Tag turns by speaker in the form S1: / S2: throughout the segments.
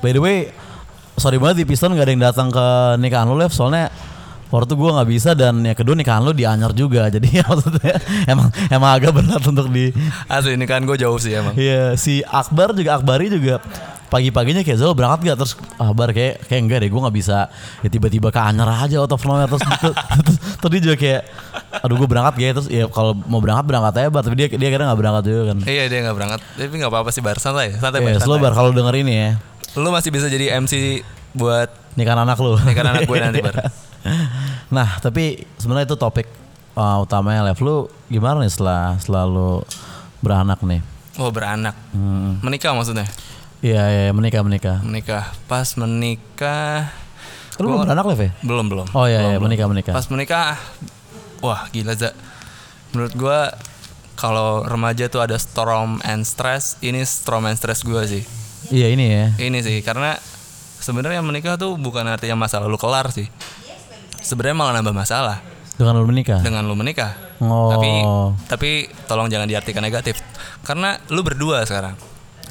S1: By the way, sorry banget di Piston gak ada yang datang ke nikahan lo Lev soalnya waktu gue nggak bisa dan yang kedua nikahan lo di Anyar juga jadi maksudnya emang emang agak berat untuk di
S2: Asli nikahan gue kan jauh sih emang.
S1: Iya si Akbar juga Akbari juga pagi-paginya kayak Zal berangkat gak terus Akbar kayak kayak enggak deh gue nggak bisa ya tiba-tiba ke Anyer aja out of nowhere terus gitu. terus, terus dia juga kayak aduh gue berangkat kayak terus ya kalau mau berangkat berangkat aja bar tapi dia dia kira nggak berangkat juga kan
S2: Iya dia nggak berangkat, tapi nggak apa-apa sih bar santai, santai
S1: ya
S2: bar.
S1: slow
S2: santai.
S1: bar kalau denger ini ya
S2: Lu masih bisa jadi MC buat
S1: nikahan anak lu
S2: Nikahan anak gue nanti, Bar.
S1: nah tapi sebenarnya itu topik uh, utamanya Lev lu gimana nih setelah selalu beranak nih
S2: oh beranak,
S1: Hmm.
S2: menikah maksudnya.
S1: iya iya menikah menikah
S2: Menikah, pas menikah
S1: lu belum beranak Lev ya
S2: belum belum.
S1: oh iya
S2: Belum,
S1: iya
S2: belum.
S1: menikah menikah
S2: Pas menikah, wah gila za. Menurut gue kalau remaja tuh ada storm and stress, ini storm and stress gue sih.
S1: iya ini ya
S2: Ini sih karena sebenarnya menikah tuh bukan artinya masalah lu kelar sih. Sebenarnya malah nambah masalah
S1: dengan lu menikah
S2: dengan lu menikah.
S1: Oh.
S2: Tapi tapi tolong jangan diartikan negatif. Karena lu berdua sekarang.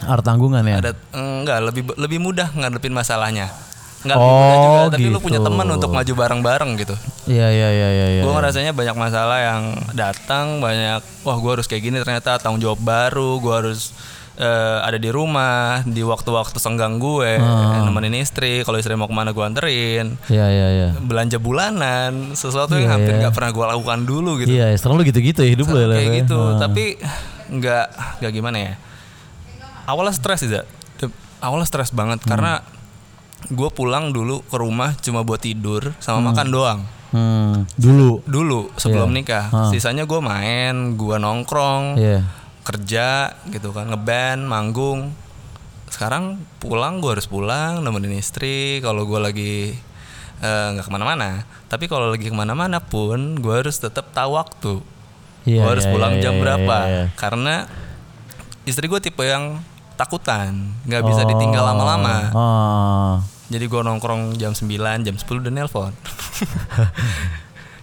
S1: Ada tanggungan ya.
S2: Ada enggak lebih lebih mudah ngadepin masalahnya. Enggak
S1: Oh,
S2: mudah juga, tapi lu
S1: gitu.
S2: punya teman untuk maju bareng-bareng gitu.
S1: Iya iya iya iya. iya.
S2: Gue ngerasanya banyak masalah yang datang, banyak wah gue harus kayak gini ternyata tanggung jawab baru, gue harus eh, ada di rumah di waktu-waktu senggang gue,
S1: Ah.
S2: eh, nemenin istri, kalau istri mau kemana gue anterin,
S1: Iya iya iya.
S2: belanja bulanan, sesuatu yang hampir
S1: ya.
S2: nggak pernah gue lakukan dulu gitu.
S1: Iya, ya, sekarang lu gitu-gitu ya hidup lu ya. Lev, ya?
S2: kayak gitu
S1: Nah.
S2: tapi nggak nggak gimana ya awalnya stres sih Za. awalnya stres banget karena gue pulang dulu ke rumah cuma buat tidur sama makan doang
S1: Hmm, dulu.
S2: dulu sebelum nikah sisanya gue main gue nongkrong
S1: Iya.
S2: kerja gitu kan ngeband manggung sekarang pulang gue harus pulang nemenin istri kalau gue lagi eh, nggak kemana-mana tapi kalau lagi kemana-mana pun gue harus tetap tahu waktu
S1: Iya.
S2: Gua harus
S1: iya,
S2: pulang
S1: iya,
S2: jam
S1: iya,
S2: berapa
S1: iya, iya.
S2: karena istri gue tipe yang takutan nggak bisa ditinggal lama-lama
S1: Oh.
S2: jadi gue nongkrong jam 9 jam 10 udah nelpon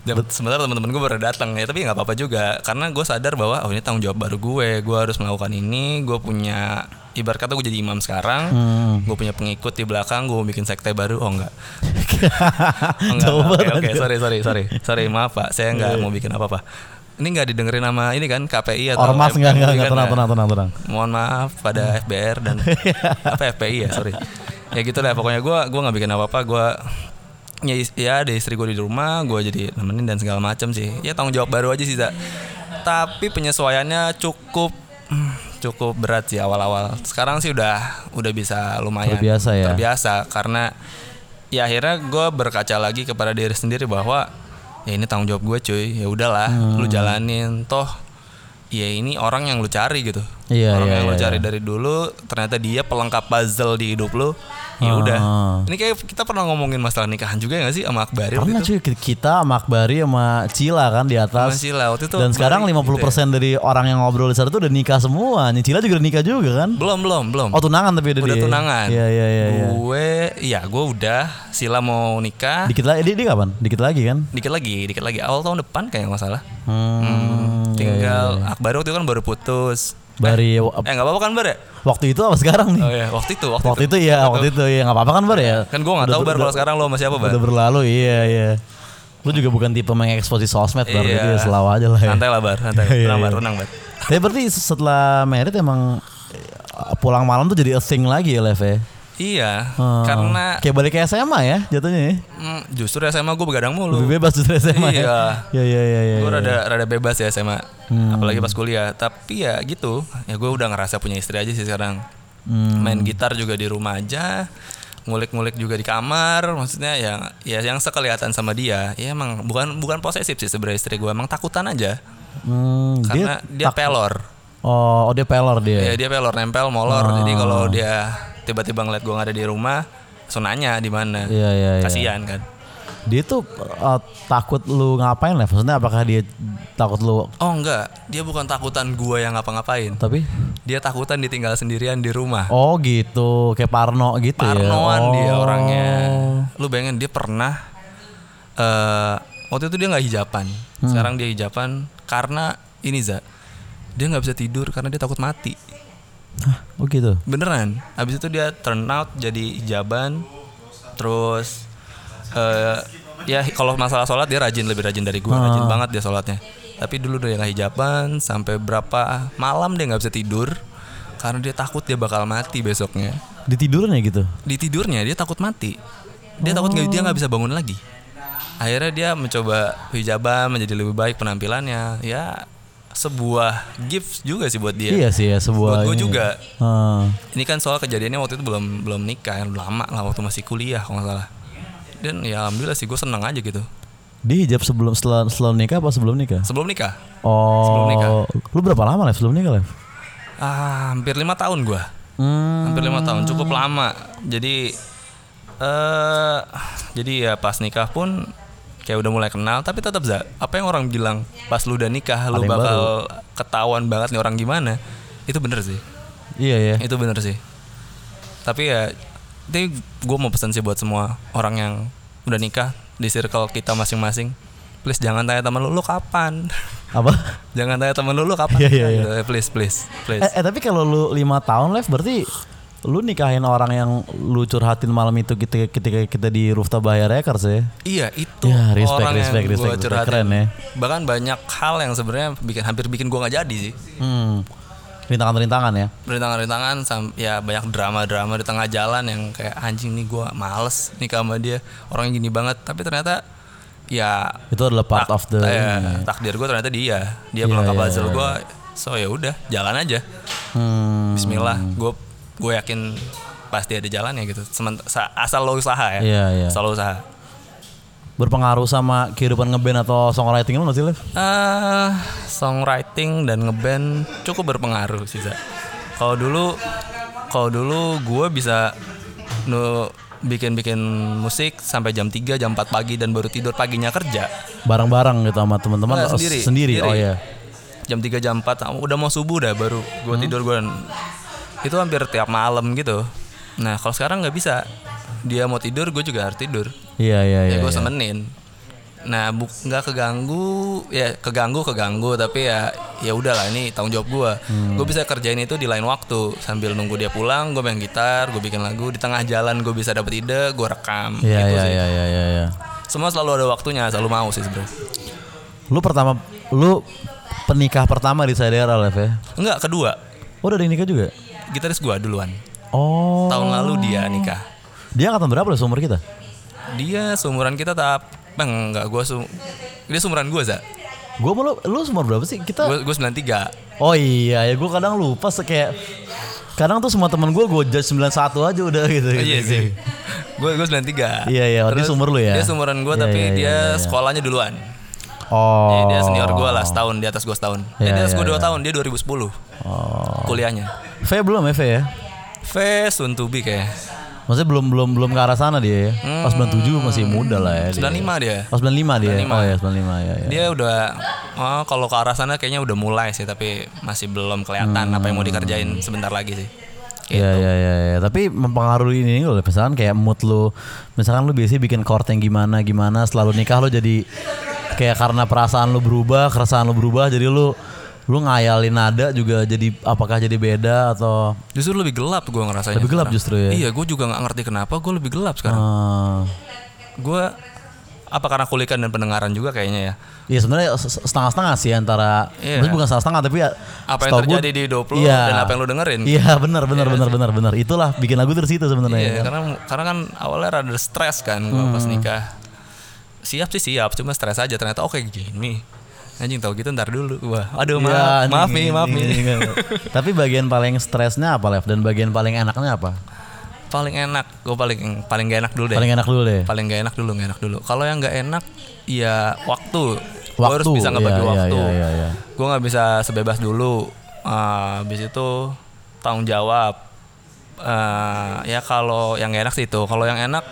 S2: jam sebentar teman-teman gue baru datang ya tapi nggak apa-apa juga karena gue sadar bahwa oh ini tanggung jawab baru gue gue harus melakukan ini gue punya ibarat kata gue jadi imam sekarang
S1: Hmm.
S2: gue punya pengikut di belakang gue bikin sekte baru oh enggak Enggak,
S1: Jauh
S2: oke,
S1: banget.
S2: Oke, sorry, sorry, sorry, sorry, maaf pak,
S1: Iya,
S2: saya nggak mau bikin apa-apa. Ini nggak didengerin nama ini kan KPI atau
S1: Ormas
S2: FPI
S1: enggak enggak enggak
S2: kan,
S1: tenang
S2: ya.
S1: tenang tenang tenang.
S2: Mohon maaf pada
S1: Hmm.
S2: FBR dan apa FPI ya, sorry. Ya gitu lah, pokoknya gue gua nggak bikin apa-apa, gue ya, is- ya ada istri gue di rumah, gue jadi nemenin dan segala macam sih. Ya tanggung jawab baru aja sih, Za. Tapi penyesuaiannya cukup hmm, cukup berat sih awal-awal. Sekarang sih udah udah bisa lumayan
S1: Terbiasa ya.
S2: terbiasa karena ya akhirnya gue berkaca lagi kepada diri sendiri bahwa ya ini tanggung jawab gue cuy ya udahlah
S1: Hmm.
S2: lu jalanin toh ya ini orang yang lu cari gitu
S1: Iya,
S2: orang
S1: iya,
S2: yang lu
S1: iya,
S2: cari dari dulu ternyata dia pelengkap puzzle di hidup lu ya
S1: Ah.
S2: udah ini kayak kita pernah ngomongin masalah nikahan juga gak sih sama Akbar gitu?
S1: Pernah cuy ki- kita sama Akbari sama Cila kan di atas.
S2: masih lah waktu itu gitu ya.
S1: Dan sekarang
S2: Akbari
S1: 50% dari orang yang ngobrol di sana tuh udah nikah semua. Nih, Cila juga udah nikah juga kan?
S2: belum belum belum
S1: Oh, tunangan tapi udah,
S2: udah
S1: dia.
S2: tunangan
S1: Iya iya iya. iya.
S2: gue iya gue udah Sila mau nikah
S1: Dikit lagi dia, dia kapan? Dikit lagi kan?
S2: dikit lagi dikit lagi awal tahun depan kayak nggak salah
S1: Iya, Hmm.
S2: tinggal Akbar waktu itu kan baru putus
S1: Bari
S2: eh nggak apa-apa kan bar ya
S1: waktu itu apa sekarang nih?
S2: oh iya waktu itu waktu,
S1: Waktu
S2: itu.
S1: itu ya, waktu itu ya nggak apa-apa kan bar ya?
S2: kan gue nggak tahu bar kalau sekarang lo masih apa bar
S1: Udah berlalu, iya iya. Lu juga bukan tipe mengekspos di sosmed bar,
S2: Iya.
S1: jadi ya selalu aja lah ya.
S2: santai lah bar santai
S1: Iya,
S2: tenang
S1: iya.
S2: bar tenang bar
S1: Tapi berarti setelah merit emang eh, pulang malam tuh jadi a thing lagi ya Lev ya?
S2: iya
S1: Hmm.
S2: karena
S1: kayak balik ke SMA ya jatuhnya ya.
S2: mm, justru SMA gue begadang
S1: Lebih
S2: mulu
S1: bebas justru SMA ya.
S2: Iya.
S1: Iya iya iya iya.
S2: gue rada rada bebas ya SMA
S1: Hmm.
S2: apalagi pas kuliah tapi ya gitu ya gue udah ngerasa punya istri aja sih sekarang
S1: Hmm.
S2: main gitar juga di rumah aja ngulik-ngulik juga di kamar maksudnya yang ya yang sekelihatan sama dia ya emang bukan bukan posesif sih sebenarnya istri gue emang takutan aja
S1: Hmm, dia
S2: karena dia, pelor
S1: oh, oh dia pelor
S2: ya
S1: dia.
S2: dia pelor nempel molor jadi
S1: Ah.
S2: kalau dia tiba-tiba ngeliat gue nggak ada di rumah langsung nanya di mana
S1: Iya iya iya.
S2: kasihan kan
S1: Dia tuh eh, takut lu ngapain Lev? Maksudnya apakah dia takut lu
S2: oh enggak dia bukan takutan gue yang ngapa-ngapain
S1: tapi
S2: dia takutan ditinggal sendirian di rumah
S1: Oh gitu, kayak Parno gitu ya.
S2: Parnoan
S1: oh.
S2: dia orangnya. Lu bayangin dia pernah eh waktu itu dia nggak hijapan.
S1: Hmm.
S2: Sekarang dia hijapan karena ini za. Dia nggak bisa tidur karena dia takut mati.
S1: Hah, oh gitu.
S2: Beneran. Habis itu dia turn out jadi jaban. Terus eh ya kalau masalah sholat dia rajin lebih rajin dari gua,
S1: Ah.
S2: rajin banget dia sholatnya. Tapi dulu dia nggak hijaban sampai berapa malam dia nggak bisa tidur karena dia takut dia bakal mati besoknya.
S1: Ditiduran ya gitu.
S2: Di tidurnya dia takut mati. Dia takut nggak dia nggak bisa bangun lagi. Akhirnya dia mencoba hijaban menjadi lebih baik penampilannya. Ya sebuah gift juga sih buat dia.
S1: Iya sih ya sebuah.
S2: Buat gua
S1: ini.
S2: juga.
S1: Ah.
S2: Ini kan soal kejadiannya waktu itu belum belum nikah, lama lah waktu masih kuliah kalau nggak salah. Dan ya alhamdulillah sih gue seneng aja gitu.
S1: Dia hijab sebelum setelah, setelah nikah apa sebelum nikah?
S2: Sebelum nikah,
S1: Oh.
S2: nikah.
S1: Lu berapa lama lah sebelum nikah lah?
S2: ah, hampir lima tahun gue,
S1: Hmm.
S2: hampir lima tahun, cukup lama. Jadi eh jadi ya pas nikah pun kayak udah mulai kenal, tapi tetap za, apa yang orang bilang pas lu udah nikah
S1: Ada
S2: lu
S1: yang
S2: bakal ketahuan banget nih orang gimana, itu bener sih.
S1: Iya ya.
S2: itu bener sih tapi ya itu gue mau pesan sih buat semua orang yang udah nikah di circle kita masing-masing please jangan tanya teman lu lu kapan
S1: Apa?
S2: jangan tanya teman lu lu kapan
S1: Iya, iya, iya.
S2: Gitu, please please please
S1: Eh, eh, tapi kalau lu lima tahun live berarti lu nikahin orang yang lu curhatin malam itu ketika ketika kita di rooftop Bahaya Records ya.
S2: iya itu
S1: Ya, respect,
S2: orang
S1: respect,
S2: yang
S1: respect,
S2: gue
S1: respect.
S2: curhatin
S1: Keren ya.
S2: bahkan banyak hal yang sebenarnya bikin hampir bikin gue nggak jadi sih
S1: Hmm. Rintangan-rintangan ya.
S2: rintangan-rintangan sam- ya banyak drama-drama di tengah jalan yang kayak anjing nih gue males nikah sama dia orang gini banget tapi ternyata ya
S1: Itu adalah part
S2: Tak-
S1: of the
S2: ya, takdir gue ternyata dia dia
S1: Iya,
S2: pelengkap
S1: iya,
S2: puzzle
S1: iya.
S2: gue so ya udah jalan aja
S1: Hmm.
S2: Bismillah gue gue yakin pasti ada jalannya gitu Sement- sa- asal lo usaha ya
S1: Iya, iya.
S2: asal lo usaha
S1: Berpengaruh sama kehidupan ngeband atau songwriting lu gak sih, Lev?
S2: Eh, songwriting dan ngeband cukup berpengaruh sih Za. Kalau dulu kalau dulu gue bisa nu bikin-bikin musik sampai jam 3 jam 4 pagi dan baru tidur paginya kerja.
S1: Bareng-bareng gitu sama teman-teman
S2: Nggak,
S1: atau
S2: sendiri,
S1: Oh
S2: sendiri.
S1: ya.
S2: jam 3 jam 4 ah, udah mau subuh dah baru gue tidur gue itu hampir tiap malam gitu nah kalau sekarang nggak bisa dia mau tidur gue juga harus tidur
S1: Iya iya iya.
S2: ya gue
S1: iya.
S2: semenin nah bu nggak keganggu ya keganggu keganggu tapi ya ya udahlah ini tanggung jawab gue
S1: Hmm.
S2: gue bisa kerjain itu di lain waktu sambil nunggu dia pulang gue main gitar gue bikin lagu di tengah jalan gue bisa dapet ide gue rekam
S1: Iya
S2: gitu
S1: iya
S2: sih
S1: iya iya iya. iya.
S2: semua selalu ada waktunya selalu mau sih sebenarnya
S1: Lu pertama lu penikah pertama di Sadera, Lev ya.
S2: enggak kedua
S1: Oh, udah ada yang nikah juga?
S2: gitaris gue duluan
S1: Oh.
S2: tahun lalu dia nikah
S1: Dia angkatan berapa lah seumur kita?
S2: dia seumuran kita tahap bang enggak gue sum dia seumuran gue za
S1: Gue mau lu, lu seumur berapa sih? Kita
S2: gue gue sembilan tiga
S1: Oh iya ya gue kadang lupa se- kayak kadang tuh semua teman gue gue judge 91 aja udah gitu. gitu,
S2: iya
S1: gitu.
S2: sih gue gue sembilan tiga
S1: Iya, iya, oh, dia seumur lu ya?
S2: dia seumuran gue
S1: Iya,
S2: tapi
S1: iya, iya,
S2: dia
S1: iya, iya.
S2: sekolahnya duluan
S1: Oh.
S2: Jadi Iya, dia senior gue lah setahun di atas gue setahun
S1: Iya,
S2: dia di atas
S1: iya,
S2: gue dua
S1: iya.
S2: tahun dia 2010 kuliahnya
S1: V Oh. belum ya V ya?
S2: V Suntubi kayak
S1: Maksudnya belum belum belum ke arah sana dia ya. Pas 97 masih muda lah ya. dia.
S2: 95 dia
S1: Pas 95 dia. Oh ya 95 ya. ya.
S2: dia udah oh, kalau ke arah sana kayaknya udah mulai sih tapi masih belum kelihatan apa
S1: Hmm.
S2: yang mau dikerjain sebentar lagi sih Kayak
S1: Ya, ya, ya, ya. Tapi mempengaruhi ini loh. Misalkan kayak mood lu, misalkan lu biasanya bikin chord yang gimana gimana, selalu nikah lu jadi kayak karena perasaan lu berubah, keresahan lu berubah, jadi lu lu ngayalin nada juga jadi apakah jadi beda atau
S2: Justru lebih gelap gue ngerasanya.
S1: Lebih gelap justru ya?
S2: Iya, gue juga nggak ngerti kenapa gue lebih gelap sekarang.
S1: eh,
S2: Gue apa karena kulikan dan pendengaran juga kayaknya ya.
S1: Iya sebenarnya se- setengah-setengah sih antara
S2: Iya.
S1: maksudnya bukan setengah-setengah tapi ya,
S2: Apa yang
S1: setahu gua-
S2: terjadi di hidup lu
S1: Iya.
S2: dan apa yang lu dengerin.
S1: Iya benar benar benar benar benar itulah bikin lagu terus itu sebenarnya
S2: Iya,
S1: ya kan?
S2: karena karena kan awalnya rada stres kan gue
S1: Hmm.
S2: pas nikah. Siap sih siap, cuma stres aja ternyata oke gini. Anjing tau gitu ntar dulu. Wah, aduh
S1: Iya,
S2: maaf, maaf
S1: nih,
S2: nih, maaf
S1: nih,
S2: nih.
S1: nih, nih. Tapi bagian paling stresnya apa Lev dan bagian paling enaknya apa?
S2: paling enak, gue paling paling gak enak dulu deh.
S1: Paling enak dulu deh.
S2: paling gak enak dulu gak enak dulu kalau yang gak enak ya waktu gue
S1: Waktu,
S2: harus bisa ngebagi
S1: iya, iya,
S2: waktu
S1: iya, iya, iya.
S2: gue nggak bisa sebebas dulu Ah, habis itu tanggung jawab Ah, ya kalau yang gak enak sih itu kalau yang enak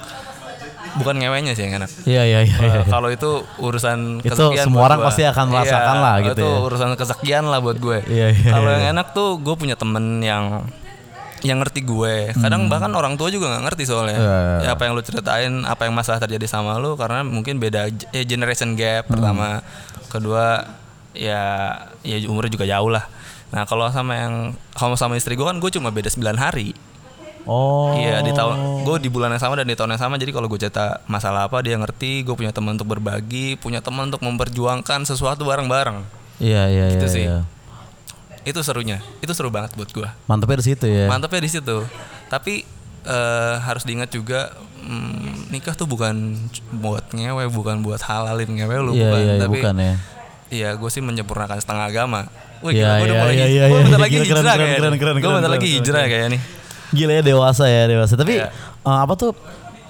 S2: bukan ngewenya sih yang enak
S1: Iya iya iya. iya.
S2: Eh, kalau itu urusan
S1: Itu
S2: kesekian
S1: semua
S2: buat
S1: orang
S2: gua.
S1: pasti akan merasakan
S2: Iya,
S1: lah gitu
S2: itu
S1: ya.
S2: urusan kesekian lah buat gue
S1: Iya, iya,
S2: kalau
S1: iya.
S2: yang enak tuh gue punya temen yang yang ngerti gue kadang bahkan orang tua juga nggak ngerti soalnya
S1: Hmm. Iya, iya,
S2: Ya, apa yang lu ceritain apa yang masalah terjadi sama lu karena mungkin beda j- ya,
S1: Hmm.
S2: generation gap pertama kedua ya ya umurnya juga jauh lah Nah kalau sama yang kalau sama istri gue kan gue cuma beda 9 hari.
S1: Oh.
S2: Iya di tahun gue di bulan yang sama dan di tahun yang sama jadi kalau gue cerita masalah apa dia ngerti. Gue punya teman untuk berbagi, punya teman untuk memperjuangkan sesuatu bareng-bareng.
S1: Iya iya iya.
S2: Gitu sih.
S1: iya.
S2: Itu serunya. Itu seru banget buat gue.
S1: Mantepnya di situ ya.
S2: Mantepnya di situ. Tapi eh, harus diingat juga mm, nikah tuh bukan buat ngewe, bukan buat halalin ngewe lu
S1: Iya
S2: bukan.
S1: iya iya,
S2: Tapi
S1: bukan ya.
S2: Iya, gue sih menyempurnakan setengah agama. Wih,
S1: Iya,
S2: gila, gue udah
S1: iya,
S2: mulai
S1: iya,
S2: hij-
S1: iya,
S2: gua
S1: iya,
S2: bentar
S1: iya,
S2: lagi
S1: gila,
S2: hijrah
S1: keren,
S2: kayak
S1: keren,
S2: nih.
S1: keren,
S2: Gue
S1: keren,
S2: bentar lagi
S1: keren,
S2: hijrah kayak nih.
S1: Gila ya dewasa ya dewasa. Tapi
S2: Iya.
S1: eh, apa tuh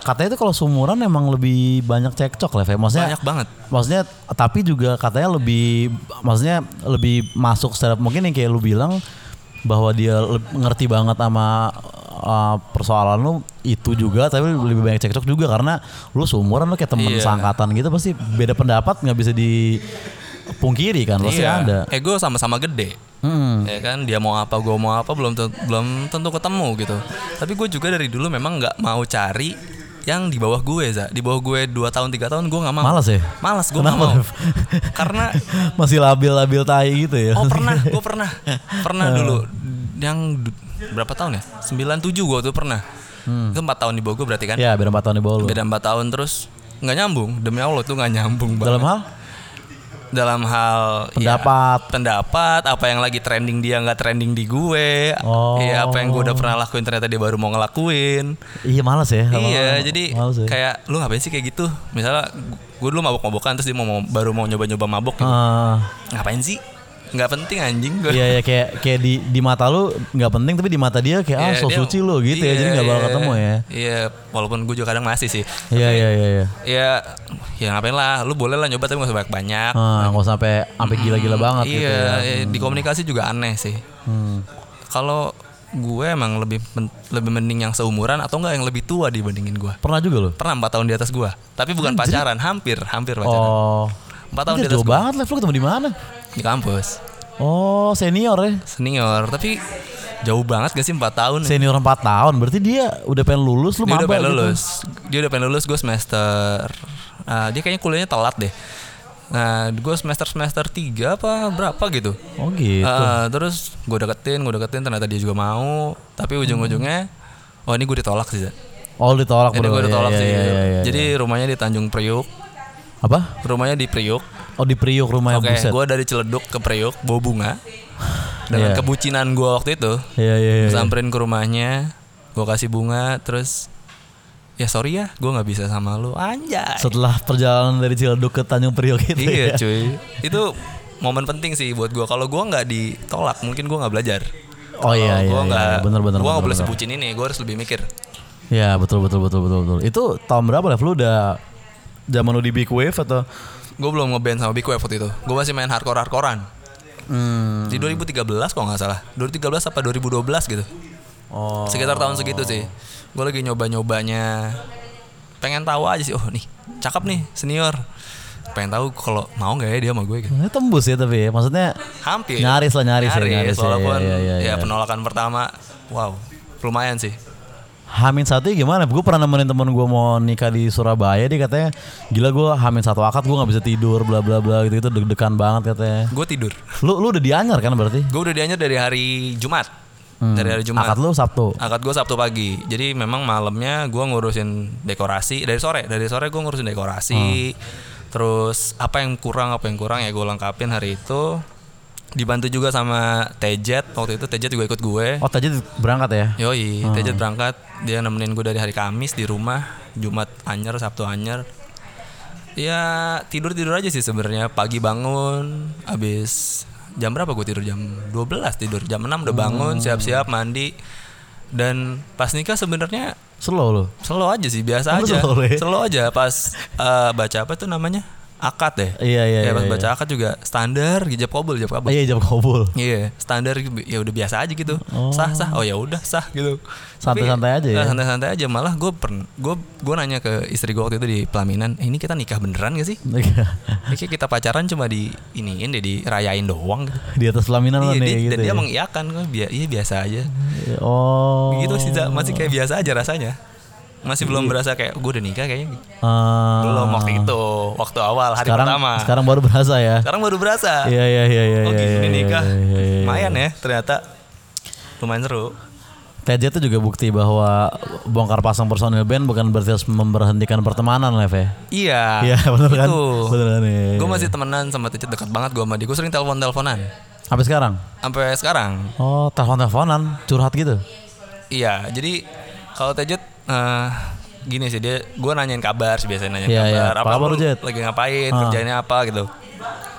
S1: katanya tuh kalau seumuran emang lebih banyak cekcok lah, Fe. maksudnya
S2: Banyak banget.
S1: maksudnya tapi juga katanya lebih maksudnya lebih masuk secara mungkin yang kayak lu bilang bahwa dia le- ngerti banget sama uh, persoalan lu itu juga tapi lebih banyak cekcok juga karena lu seumuran lu kayak temen
S2: Iya.
S1: seangkatan gitu pasti beda pendapat nggak bisa dipungkiri kan pasti ada
S2: Ego Iya. Eh, sama-sama gede.
S1: Mm.
S2: Ya kan, dia mau apa, gue mau apa, belum ten- belum tentu ketemu gitu. Tapi gue juga dari dulu memang nggak mau cari yang di bawah gue, za. Di bawah gue 2 tahun, tiga tahun gue nggak mau.
S1: Malas ya?
S2: Malas gue nggak
S1: Kenapa,
S2: mau.
S1: Dev?
S2: Karena
S1: masih labil-labil tai gitu ya
S2: oh pernah, gue pernah, pernah dulu yang du- berapa tahun ya? 97 gue tuh pernah.
S1: Hmm.
S2: Itu 4 tahun di bawah gue berarti kan?
S1: ya beda 4 tahun di bawah lu
S2: beda empat tahun terus nggak nyambung demi allah tuh nggak nyambung banget.
S1: dalam hal
S2: dalam hal ya,
S1: Pendapat.
S2: pendapat apa yang lagi trending dia nggak trending di gue
S1: Oh.
S2: Iya, apa yang gue udah pernah lakuin ternyata dia baru mau ngelakuin
S1: iya malas ya
S2: iya
S1: lama-lama.
S2: jadi
S1: Malas ya.
S2: kayak lu ngapain sih kayak gitu misalnya gue dulu mabok-mabokan terus dia mau mau- baru mau nyoba-nyoba mabok gitu.
S1: Ah.
S2: ngapain sih nggak penting anjing gue
S1: Iya ya kayak kayak di di mata lu nggak penting tapi di mata dia kayak ah
S2: Iya,
S1: so
S2: dia-
S1: suci lu gitu ya
S2: iya,
S1: jadi nggak bakal
S2: iya.
S1: ketemu ya.
S2: Iya, walaupun gue juga kadang masih sih.
S1: Iya iya iya. iya.
S2: Ya, ya ngapain lah, lu boleh lah nyoba tapi gak usah banyak-banyak.
S1: Ah nggak sampai sampai gila-gila banget
S2: iya,
S1: gitu ya. Hmm.
S2: iya, di komunikasi juga aneh sih. Kalau gue emang lebih men- lebih mending yang seumuran atau enggak yang lebih tua dibandingin gue.
S1: Pernah juga lu?
S2: Pernah empat tahun di atas gue, tapi bukan pacaran, hampir hampir pacaran.
S1: Oh.
S2: Empat tahun
S1: Ini
S2: di atas
S1: jauh
S2: gue
S1: banget level lu ketemu di mana?
S2: di kampus,
S1: Oh senior ya.
S2: senior, tapi jauh banget gak sih empat tahun?
S1: Senior 4 tahun berarti dia udah pengen lulus lu
S2: dia
S1: maba
S2: udah pengen
S1: gitu.
S2: lulus dia udah pengen lulus gue semester ah, dia kayaknya kuliahnya telat deh nah gue semester semester tiga apa berapa gitu
S1: Oh gitu.
S2: Ah, terus gue deketin gue deketin ternyata dia juga mau
S1: Hmm.
S2: tapi ujung-ujungnya oh ini gue ditolak sih Zat.
S1: oh ditolak
S2: ini
S1: bro.
S2: gue
S1: Iya,
S2: ditolak
S1: iya,
S2: sih gitu.
S1: iya, iya, iya.
S2: jadi rumahnya di Tanjung Priuk
S1: apa?
S2: rumahnya di Priuk
S1: Oh di Priuk rumahnya
S2: oke
S1: buset.
S2: gue dari Ciledug ke Priuk bawa bunga dengan
S1: Iya.
S2: kebucinan gue waktu itu
S1: Iya iya iya.
S2: Terus samperin ke rumahnya gue kasih bunga terus ya sorry ya gue nggak bisa sama lu anjay
S1: Setelah perjalanan dari Ciledug ke Tanjung Priok gitu
S2: iya
S1: ya.
S2: cuy itu momen penting sih buat gue kalau gue nggak ditolak mungkin gue nggak belajar
S1: Oh iya iya.
S2: gue
S1: iya.
S2: nggak
S1: bener bener.
S2: gue nggak
S1: bener,
S2: boleh
S1: bener.
S2: sebutin ini gue harus lebih mikir
S1: Ya betul betul betul betul betul. Itu tahun berapa Lev? Lu udah zaman lu di Big Wave atau?
S2: gue belum ngeband sama Big Wave waktu itu gue masih main hardcore hardcorean
S1: Hmm.
S2: di 2013 kalau nggak salah 2013 apa 2012 gitu
S1: Oh.
S2: sekitar tahun segitu sih gue lagi nyoba nyobanya pengen tahu aja sih oh nih cakep nih senior pengen tahu kalau mau nggak ya dia sama gue gitu
S1: Ini tembus ya tapi ya. maksudnya
S2: hampir
S1: Nyaris lah, nyaris ya, nyaris ya, iya,
S2: walaupun
S1: iya, iya.
S2: ya penolakan pertama wow lumayan sih
S1: Hamin satu gimana? Gue pernah nemenin temen gue mau nikah di Surabaya dia katanya gila gue Hamin satu akad gue nggak bisa tidur bla bla bla gitu itu deg-degan banget katanya.
S2: gue tidur
S1: Lu lu udah dianyar kan berarti?
S2: gue udah dianyar dari hari Jumat
S1: Hmm.
S2: dari hari Jumat
S1: Akad lu Sabtu.
S2: akad gue Sabtu pagi jadi memang malamnya gue ngurusin dekorasi dari sore dari sore gue ngurusin dekorasi terus apa yang kurang apa yang kurang ya gue lengkapin hari itu dibantu juga sama Tejet waktu itu Tejet juga ikut gue
S1: Oh tadi berangkat ya?
S2: Yoi, Tejet berangkat. Dia nemenin gue dari hari Kamis di rumah, Jumat anyer, Sabtu anyer. Ya tidur tidur aja sih sebenarnya. Pagi bangun, abis jam berapa gue tidur jam 12 tidur jam 6 udah
S1: Hmm.
S2: bangun siap siap mandi dan pas nikah sebenarnya
S1: Slow lu.
S2: slow aja sih biasa
S1: Lu
S2: aja
S1: slow ya?
S2: slow aja pas eh, baca apa tuh namanya akad ya
S1: Iya iya.
S2: ya
S1: iya,
S2: pas
S1: iya.
S2: baca akad juga standar hijab kabul hijab kabul
S1: Iya jam kobul.
S2: Iya, standar ya udah biasa aja gitu. Sah sah. Oh ya udah sah gitu. Tapi,
S1: Santai-santai aja ya?
S2: eh, Santai-santai aja. Malah gue pernah gue gue nanya ke istri gue waktu itu di pelaminan, "Eh, ini kita nikah beneran gak sih? Ini kayak kita pacaran cuma di iniin deh dirayain doang gitu.
S1: di atas pelaminan
S2: Iya,
S1: lah
S2: dia,
S1: nih gitu.
S2: dan dia
S1: ya.
S2: mengiyakan gue, "Bia- iya biasa aja.
S1: Oh.
S2: Gitu sih Za. masih kayak biasa aja rasanya. masih belum berasa kayak gue udah nikah
S1: Iya.
S2: kayaknya
S1: Ah,
S2: belum waktu itu waktu awal hari
S1: sekarang
S2: pertama sekarang,
S1: sekarang baru berasa ya.
S2: baru berasa
S1: Iya iya iya iya.
S2: oh
S1: iya,
S2: gini
S1: iya,
S2: nikah
S1: iya, iya, iya.
S2: lumayan ya ternyata lumayan seru
S1: TJ itu juga bukti bahwa bongkar pasang personil band bukan berarti harus memberhentikan pertemanan, Lev ya.
S2: iya
S1: Iya, benar kan?
S2: itu
S1: Benar kan? iya, iya.
S2: gue masih temenan sama Tecet dekat banget gue sama dia gue sering telepon teleponan
S1: Sampai sekarang.
S2: sampai sekarang
S1: Oh, telepon-teleponan, curhat gitu.
S2: Iya, jadi kalau Tejet eh, gini sih dia, gue nanyain kabar sih biasanya nanyain
S1: Iya,
S2: kabar,
S1: iya. Apa kabar, Ah.
S2: lu
S1: Jet?
S2: lagi ngapain, kerjaannya apa gitu.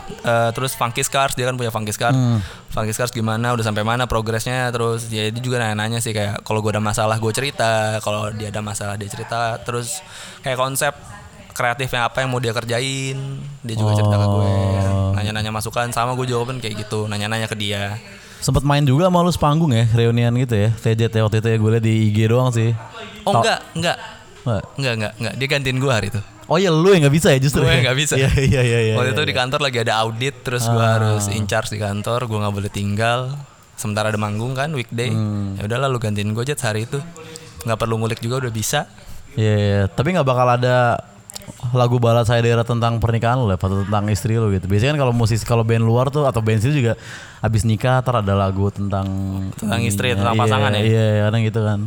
S2: Eh, terus Funky Scars dia kan punya Funky Scars,
S1: Hmm.
S2: Funky Scars gimana, udah sampai mana progresnya, terus ya dia juga nanya-nanya sih kayak kalau gue ada masalah gue cerita, kalau dia ada masalah dia cerita, terus kayak konsep kreatifnya apa yang mau dia kerjain, dia juga cerita ke gue,
S1: Oh.
S2: nanya-nanya masukan, sama gue jawabin kayak gitu, nanya-nanya ke dia.
S1: Sempet main juga sama lu sepanggung ya, reunian gitu ya. TJ ya waktu itu ya gue liat di IG doang sih.
S2: Oh
S1: Tau-
S2: enggak, enggak,
S1: Nggak?
S2: enggak, enggak, enggak, dia gantiin gue hari itu.
S1: Oh iya lu yang gak bisa ya justru
S2: gue
S1: ya?
S2: nggak bisa.
S1: Iya iya iya iya. iya. Ah.
S2: Waktu itu di kantor lagi ada audit, terus gue harus in charge di kantor, gue nggak boleh tinggal. Sementara ada manggung kan weekday,
S1: Hmm.
S2: ya udahlah lu gantiin gue jet hari itu. Nggak perlu ngulik juga udah bisa.
S1: Iya iya. Tapi gak bakal ada lagu balad saya daerah tentang pernikahan lu Lev, atau tentang istri lu gitu. Biasanya kan kalau musisi kalau band luar tuh atau band sendiri juga habis nikah ntar ada lagu tentang
S2: Tentang istri,
S1: Iya,
S2: tentang pasangan ya?
S1: Iya, iya kadang gitu kan.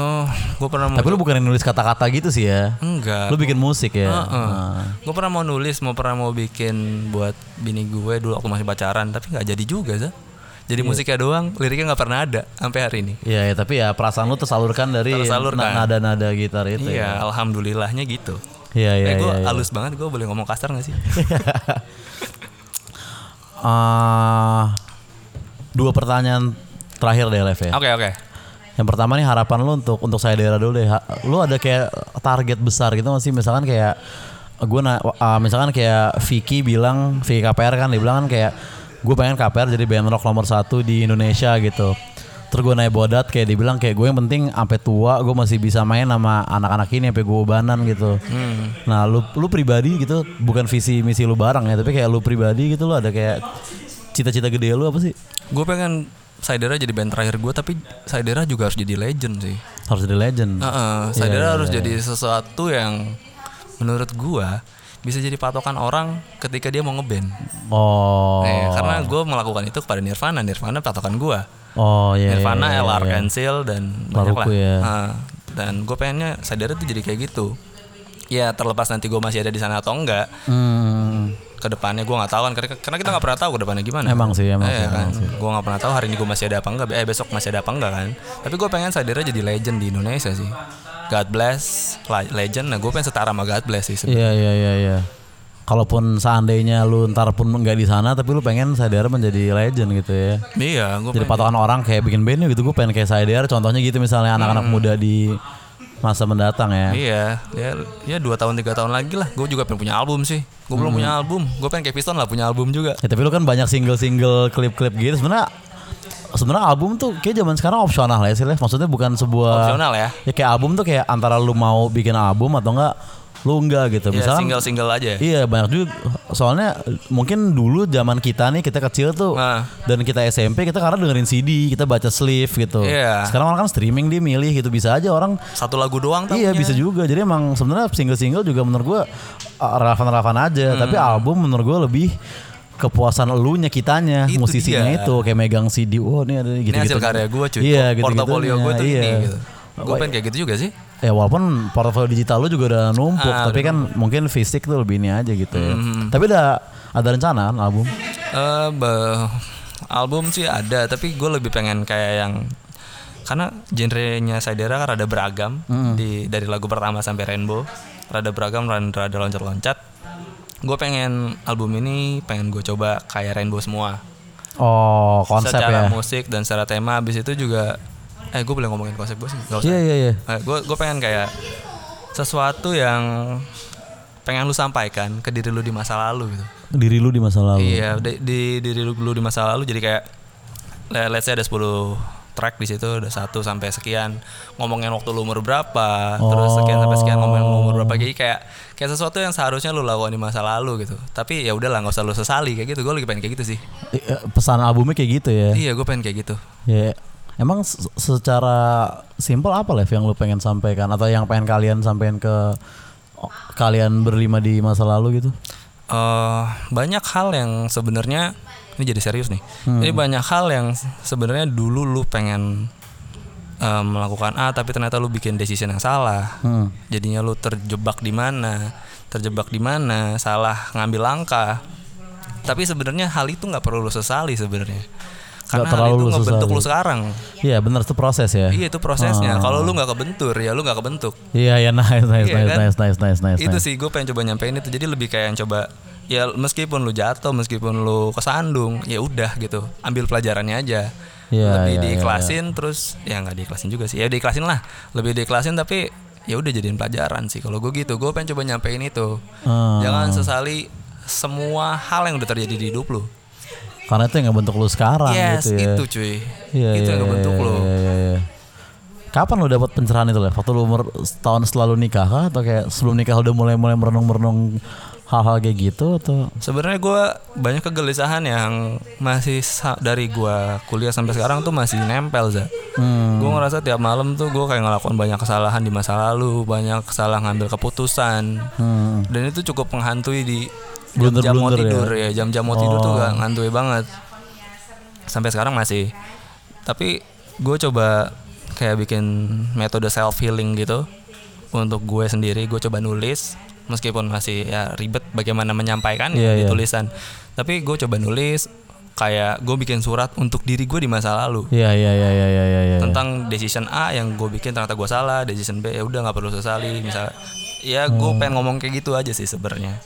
S2: Oh, gue pernah mau
S1: Tapi lu bukan yang nulis kata-kata gitu sih ya.
S2: enggak.
S1: Lu bikin musik ya. Nah.
S2: Gue pernah mau nulis, mau pernah mau bikin buat bini gue dulu waktu masih pacaran, tapi nggak jadi juga sih. Jadi musiknya doang, liriknya nggak pernah ada sampai hari ini.
S1: Iya ya, tapi ya perasaan lu tersalurkan dari
S2: Tersalurkan.
S1: na- nada-nada gitar itu. ya.
S2: Iya, alhamdulillahnya gitu.
S1: Iya iya
S2: eh, gue
S1: iya. iya.
S2: halus banget, gue boleh ngomong kasar gak sih?
S1: Ah, dua pertanyaan terakhir deh Lev ya.
S2: Oke oke.
S1: Yang pertama nih harapan lu untuk untuk saya daerah dulu deh. Ha- Lu ada kayak target besar gitu masih misalkan kayak gue na- ah, misalkan kayak Vicky bilang Vicky KPR kan dia bilang kan kayak gue pengen KPR jadi band rock nomor satu di Indonesia gitu. Terus gue naik bodat kayak dibilang kayak gue yang penting sampai tua gue masih bisa main sama anak-anak ini sampai gue ubanan gitu.
S2: Hmm.
S1: Nah lu lu pribadi gitu bukan visi misi lu bareng ya tapi kayak lu pribadi gitu lu ada kayak cita-cita gede lu apa sih?
S2: Gue pengen Saidera jadi band terakhir gue tapi Saidera juga harus jadi legend sih.
S1: Harus jadi legend.
S2: Heeh,
S1: iya,
S2: Saidera harus jadi sesuatu yang menurut gue bisa jadi patokan orang ketika dia mau ngeband.
S1: Oh.
S2: Eh, karena gue melakukan itu kepada Nirvana, Nirvana patokan gue.
S1: Oh iya.
S2: Nirvana,
S1: iya, iya,
S2: LR
S1: iya.
S2: Pencil dan banyak lah.
S1: Paruku ya.
S2: Heeh, dan gue pengennya Saidera tuh jadi kayak gitu. Ya terlepas nanti gue masih ada di sana atau enggak,
S1: Hmm.
S2: kedepannya gue nggak tahu kan karena- karena kita nggak pernah tahu kedepannya gimana
S1: Emang sih, emang
S2: Eh,
S1: sih,
S2: kan
S1: emang sih.
S2: gue nggak pernah tahu hari ini gue masih ada apa enggak eh besok masih ada apa enggak kan tapi gue pengen Sadira jadi legend di Indonesia sih God bless la- legend nah gue pengen setara sama God bless sih sebenarnya.
S1: Iya iya iya iya. Kalaupun seandainya lu ntar pun nggak di sana tapi lu pengen Saidara menjadi legend gitu ya.
S2: iya gue
S1: Jadi
S2: pengen
S1: patokan orang kayak bikin band yuk gitu gue pengen kayak Saidara contohnya gitu misalnya anak-anak muda di masa mendatang ya.
S2: Hmm. iya ya ya dua tahun tiga tahun lagi lah gue juga pengen punya album sih gue
S1: Hmm.
S2: belum punya album gue pengen kayak Piston lah punya album juga
S1: Ya, tapi lu kan banyak single-single klip-klip gitu sebenarnya sebenarnya album tuh kayak zaman sekarang opsional ya sih Lev. Maksudnya bukan sebuah
S2: opsional ya
S1: ya kayak album tuh kayak antara lu mau bikin album atau enggak lu enggak gitu.
S2: ya
S1: Misalnya
S2: single single aja
S1: Iya banyak juga soalnya mungkin dulu zaman kita nih kita kecil tuh
S2: Nah.
S1: dan kita SMP kita karena dengerin CD kita baca sleeve gitu.
S2: Iya.
S1: Sekarang orang kan streaming dia milih gitu bisa aja orang
S2: satu lagu doang tapi
S1: iya bisa juga jadi emang sebenarnya single-single juga menurut gua uh, relevan-relevan aja
S2: Hmm.
S1: tapi album menurut gua lebih kepuasan elunya kitanya
S2: Itu
S1: musisinya
S2: dia.
S1: itu kayak megang CD oh ini ada gitu
S2: ini hasil karya gue cuy
S1: iya, gitu
S2: portofolio gue tuh
S1: iya.
S2: ini gitu. gue pengen kayak gitu juga sih
S1: Ya walaupun portfolio digital lu juga udah numpuk,
S2: Ah,
S1: tapi kan mungkin fisik tuh lebih ini aja gitu ya.
S2: Mm-hmm.
S1: Tapi udah ada rencana kan album?
S2: Eh, be- album sih ada, tapi gue lebih pengen kayak yang karena genrenya Saidera kan rada beragam
S1: Hmm.
S2: di dari lagu pertama sampai Rainbow, rada beragam dan rada loncat-loncat. Gue pengen album ini pengen gue coba kayak Rainbow semua,
S1: Oh, konsep ya.
S2: secara musik dan secara tema. Abis itu juga, eh gue boleh ngomongin konsep gue sih, gak usah.
S1: Iya iya iya.
S2: Gue gue pengen kayak sesuatu yang pengen lu sampaikan ke diri lu di masa lalu gitu.
S1: Diri lu di masa lalu.
S2: Iya, di, di diri lu dulu di masa lalu jadi kayak le- let's say ada 10 track di situ ada satu sampai sekian ngomongin waktu lu umur berapa, terus sekian sampai sekian ngomongin lu umur berapa. Jadi kayak kayak sesuatu yang seharusnya lu lakukan di masa lalu gitu. Tapi ya udahlah nggak usah lu sesali kayak gitu. Gue lagi pengen kayak gitu sih.
S1: I- eh, Pesan albumnya kayak gitu ya.
S2: Iya, gue pengen kayak gitu.
S1: Iya. Emang se- secara simpel apa Lev yang lu pengen sampaikan atau yang pengen kalian sampaikan ke o- kalian berlima di masa lalu gitu?
S2: eh banyak hal yang sebenarnya ini jadi serius nih. Jadi banyak hal yang sebenarnya dulu lu pengen eh, melakukan A tapi ternyata lu bikin decision yang salah.
S1: Hmm.
S2: Jadinya lu terjebak di mana? Terjebak di mana? Salah ngambil langkah. Tapi sebenarnya hal itu nggak perlu lu sesali sebenarnya. Karena hal
S1: terlalu
S2: itu
S1: lu
S2: ngebentuk
S1: sesali.
S2: lu sekarang.
S1: Iya benar itu proses ya.
S2: Iya itu prosesnya. Kalau lu nggak kebentur ya lu nggak kebentuk.
S1: Iya ya nice nice
S2: Iya,
S1: nice,
S2: kan?
S1: nice nice nice nice
S2: itu
S1: nice.
S2: sih gue pengen coba nyampein itu jadi lebih kayak yang coba ya meskipun lu jatuh meskipun lu kesandung ya udah gitu ambil pelajarannya aja
S1: Iya,
S2: lebih
S1: iya,
S2: diiklasin terus ya nggak diiklasin juga sih ya diiklasin lah lebih diiklasin tapi ya udah jadiin pelajaran sih kalau gue gitu gue pengen coba nyampein itu
S1: Hmm.
S2: jangan Ya kan, sesali semua hal yang udah terjadi di hidup lu
S1: Karena itu yang ngebentuk lu sekarang
S2: yes
S1: gitu ya.
S2: itu cuy
S1: Iya,
S2: itu
S1: iya,
S2: Gitu yang ngebentuk
S1: iya,
S2: lu
S1: iya, iya, iya. Kapan lo dapat pencerahan itu Lev? Waktu lo umur setahun selalu nikah kah? Atau kayak sebelum nikah udah mulai-mulai merenung-merenung hal-hal kayak gitu? Atau
S2: Sebenarnya gue banyak kegelisahan yang masih sa- dari gue kuliah sampai sekarang tuh masih nempel za.
S1: Hmm,
S2: Gue ngerasa tiap malam tuh gue kayak ngelakuin banyak kesalahan di masa lalu, banyak kesalahan ngambil keputusan,
S1: Hmm.
S2: dan itu cukup menghantui di jam-jam
S1: Blunder-blunder ya?
S2: mau
S1: Oh.
S2: tidur ya. Jam-jam mau tidur tuh gak ngantui banget. Sampai sekarang masih. Tapi gue coba kayak bikin metode self healing gitu untuk gue sendiri. Gue coba nulis meskipun masih ya ribet bagaimana menyampaikan
S1: Iya,
S2: ya di
S1: iya.
S2: tulisan. Tapi gue coba nulis kayak gue bikin surat untuk diri gue di masa lalu
S1: Iya iya iya iya iya iya. iya.
S2: tentang decision A yang gue bikin ternyata gue salah decision B ya udah nggak perlu
S1: Iya.
S2: sesali misalnya ya gue
S1: Hmm.
S2: pengen ngomong kayak gitu aja sih sebenarnya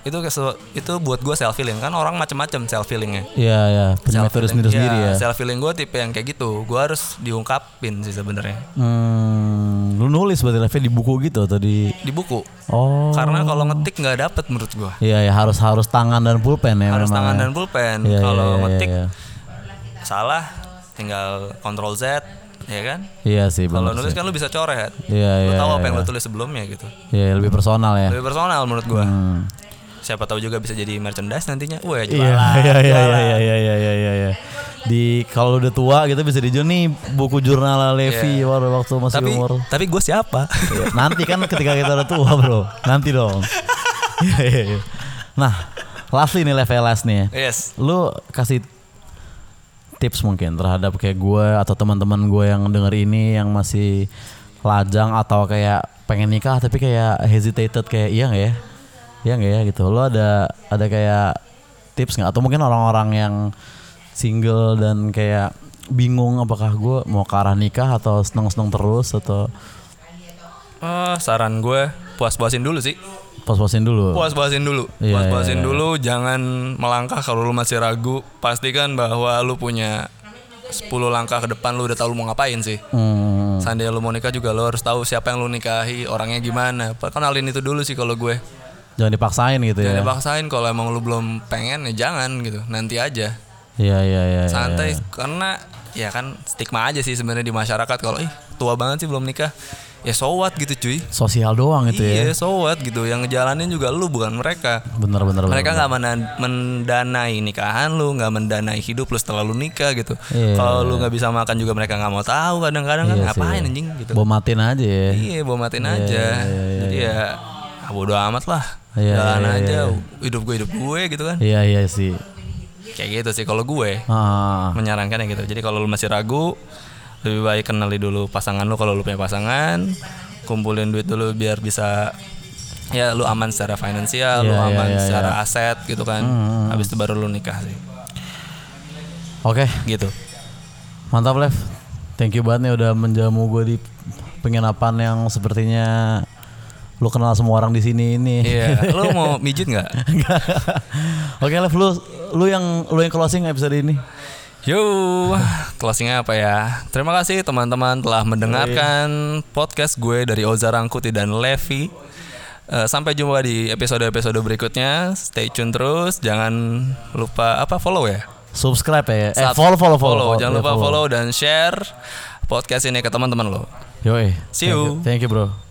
S2: itu kesu- itu buat gue self healing kan orang macam-macam self healingnya
S1: Iya iya. Punya metode sendiri-sendiri ya.
S2: Iya, self healing gue tipe yang kayak gitu gue harus diungkapin sih sebenarnya
S1: Hmm, lu nulis berarti Lev di buku gitu atau di
S2: di buku
S1: Oh.
S2: karena kalau ngetik nggak dapet menurut gue
S1: Iya ya harus harus tangan dan pulpen ya
S2: harus
S1: memang.
S2: tangan
S1: ya.
S2: dan pulpen
S1: Iya, iya,
S2: kalau
S1: iya, iya,
S2: ngetik
S1: iya.
S2: salah tinggal control Z ya kan
S1: Iya sih
S2: kalau
S1: benar.
S2: nulis kan lu bisa coret
S1: Iya
S2: lu
S1: iya.
S2: tahu apa
S1: iya.
S2: yang lu tulis sebelumnya gitu
S1: Iya lebih personal ya.
S2: lebih personal menurut gue
S1: Hmm.
S2: siapa tahu juga bisa jadi merchandise nantinya wah
S1: Iya,
S2: jualan
S1: iya, iya,
S2: jualan.
S1: iya, iya, iya, iya, iya, iya. Di kalau udah tua gitu bisa dijual nih buku jurnal Levi waktu waktu masih
S2: Iya. tapi
S1: umur.
S2: tapi gue siapa
S1: Iya, Nanti kan ketika kita udah tua bro, nanti dong. Iya, iya, iya. Nah, lastly nih level last nih. ya.
S2: yes
S1: Lu kasih tips mungkin terhadap kayak gue atau teman-teman gue yang denger ini yang masih lajang atau kayak pengen nikah tapi kayak hesitated kayak iya nggak ya iya nggak ya gitu lo ada ada kayak tips nggak atau mungkin orang-orang yang single dan kayak bingung apakah gue mau ke arah nikah atau seneng-seneng terus atau
S2: Eh, saran gue puas-puasin dulu sih
S1: pos-posin dulu
S2: puas-puasin dulu
S1: Iya,
S2: puas-puasin
S1: iya, iya.
S2: dulu jangan melangkah kalau lu masih ragu pastikan bahwa lu punya 10 langkah ke depan lu udah tahu lu mau ngapain sih
S1: Hmm,
S2: Seandainya lu mau nikah juga lu harus tahu siapa yang lu nikahi, orangnya gimana. Kenalin itu dulu sih kalau gue.
S1: jangan dipaksain gitu
S2: Jangan
S1: ya
S2: dipaksain kalau emang lu belum pengen ya jangan gitu. Nanti aja.
S1: iya iya iya iya.
S2: santai karena ya kan stigma aja sih sebenarnya di masyarakat kalau ih tua banget sih belum nikah ya so what gitu cuy
S1: sosial doang gitu ya
S2: iya so what gitu yang ngejalanin juga lu bukan mereka
S1: bener bener bener.
S2: mereka nggak mena- mendanai nikahan lu nggak mendanai hidup lu setelah lu nikah gitu
S1: Iya.
S2: kalau lu nggak bisa makan juga mereka nggak mau tahu kadang-kadang kan
S1: Iya sih.
S2: ngapain anjing gitu
S1: bom matiin aja ya
S2: iya bawa matiin aja jadi ya ah, bodo amat lah
S1: Iya,
S2: jalan
S1: iya,
S2: aja
S1: iya,
S2: hidup gue hidup gue gitu kan
S1: Iya iya sih. Iya.
S2: kayak gitu sih kalau gue
S1: Ah,
S2: menyarankan ya gitu. Jadi kalau lu masih ragu, lebih baik kenali dulu pasangan lu kalau lu punya pasangan, kumpulin duit dulu biar bisa ya lu aman secara finansial, lu
S1: Iya, iya,
S2: aman
S1: iya, Hmm,
S2: secara aset gitu kan. Habis itu baru lu nikah sih.
S1: oke,
S2: Gitu.
S1: mantap Lev. Thank you banget nih udah menjamu gue di penginapan yang sepertinya lu kenal semua orang di sini ini.
S2: Iya, lu mau mijit nggak?
S1: oke Lev, lu lu yang lu yang closing episode ini.
S2: Yo, closingnya apa ya? Terima kasih teman-teman telah mendengarkan podcast gue dari Oza Rangkuti dan Levi. Eh, sampai jumpa di episode-episode berikutnya. Stay tune terus. Jangan lupa apa follow ya.
S1: Subscribe ya. Eh,
S2: Sub-
S1: follow follow follow.
S2: Jangan
S1: Ya,
S2: lupa follow dan share podcast ini ke teman-teman lo.
S1: Yoi.
S2: See you.
S1: Thank you, thank you bro.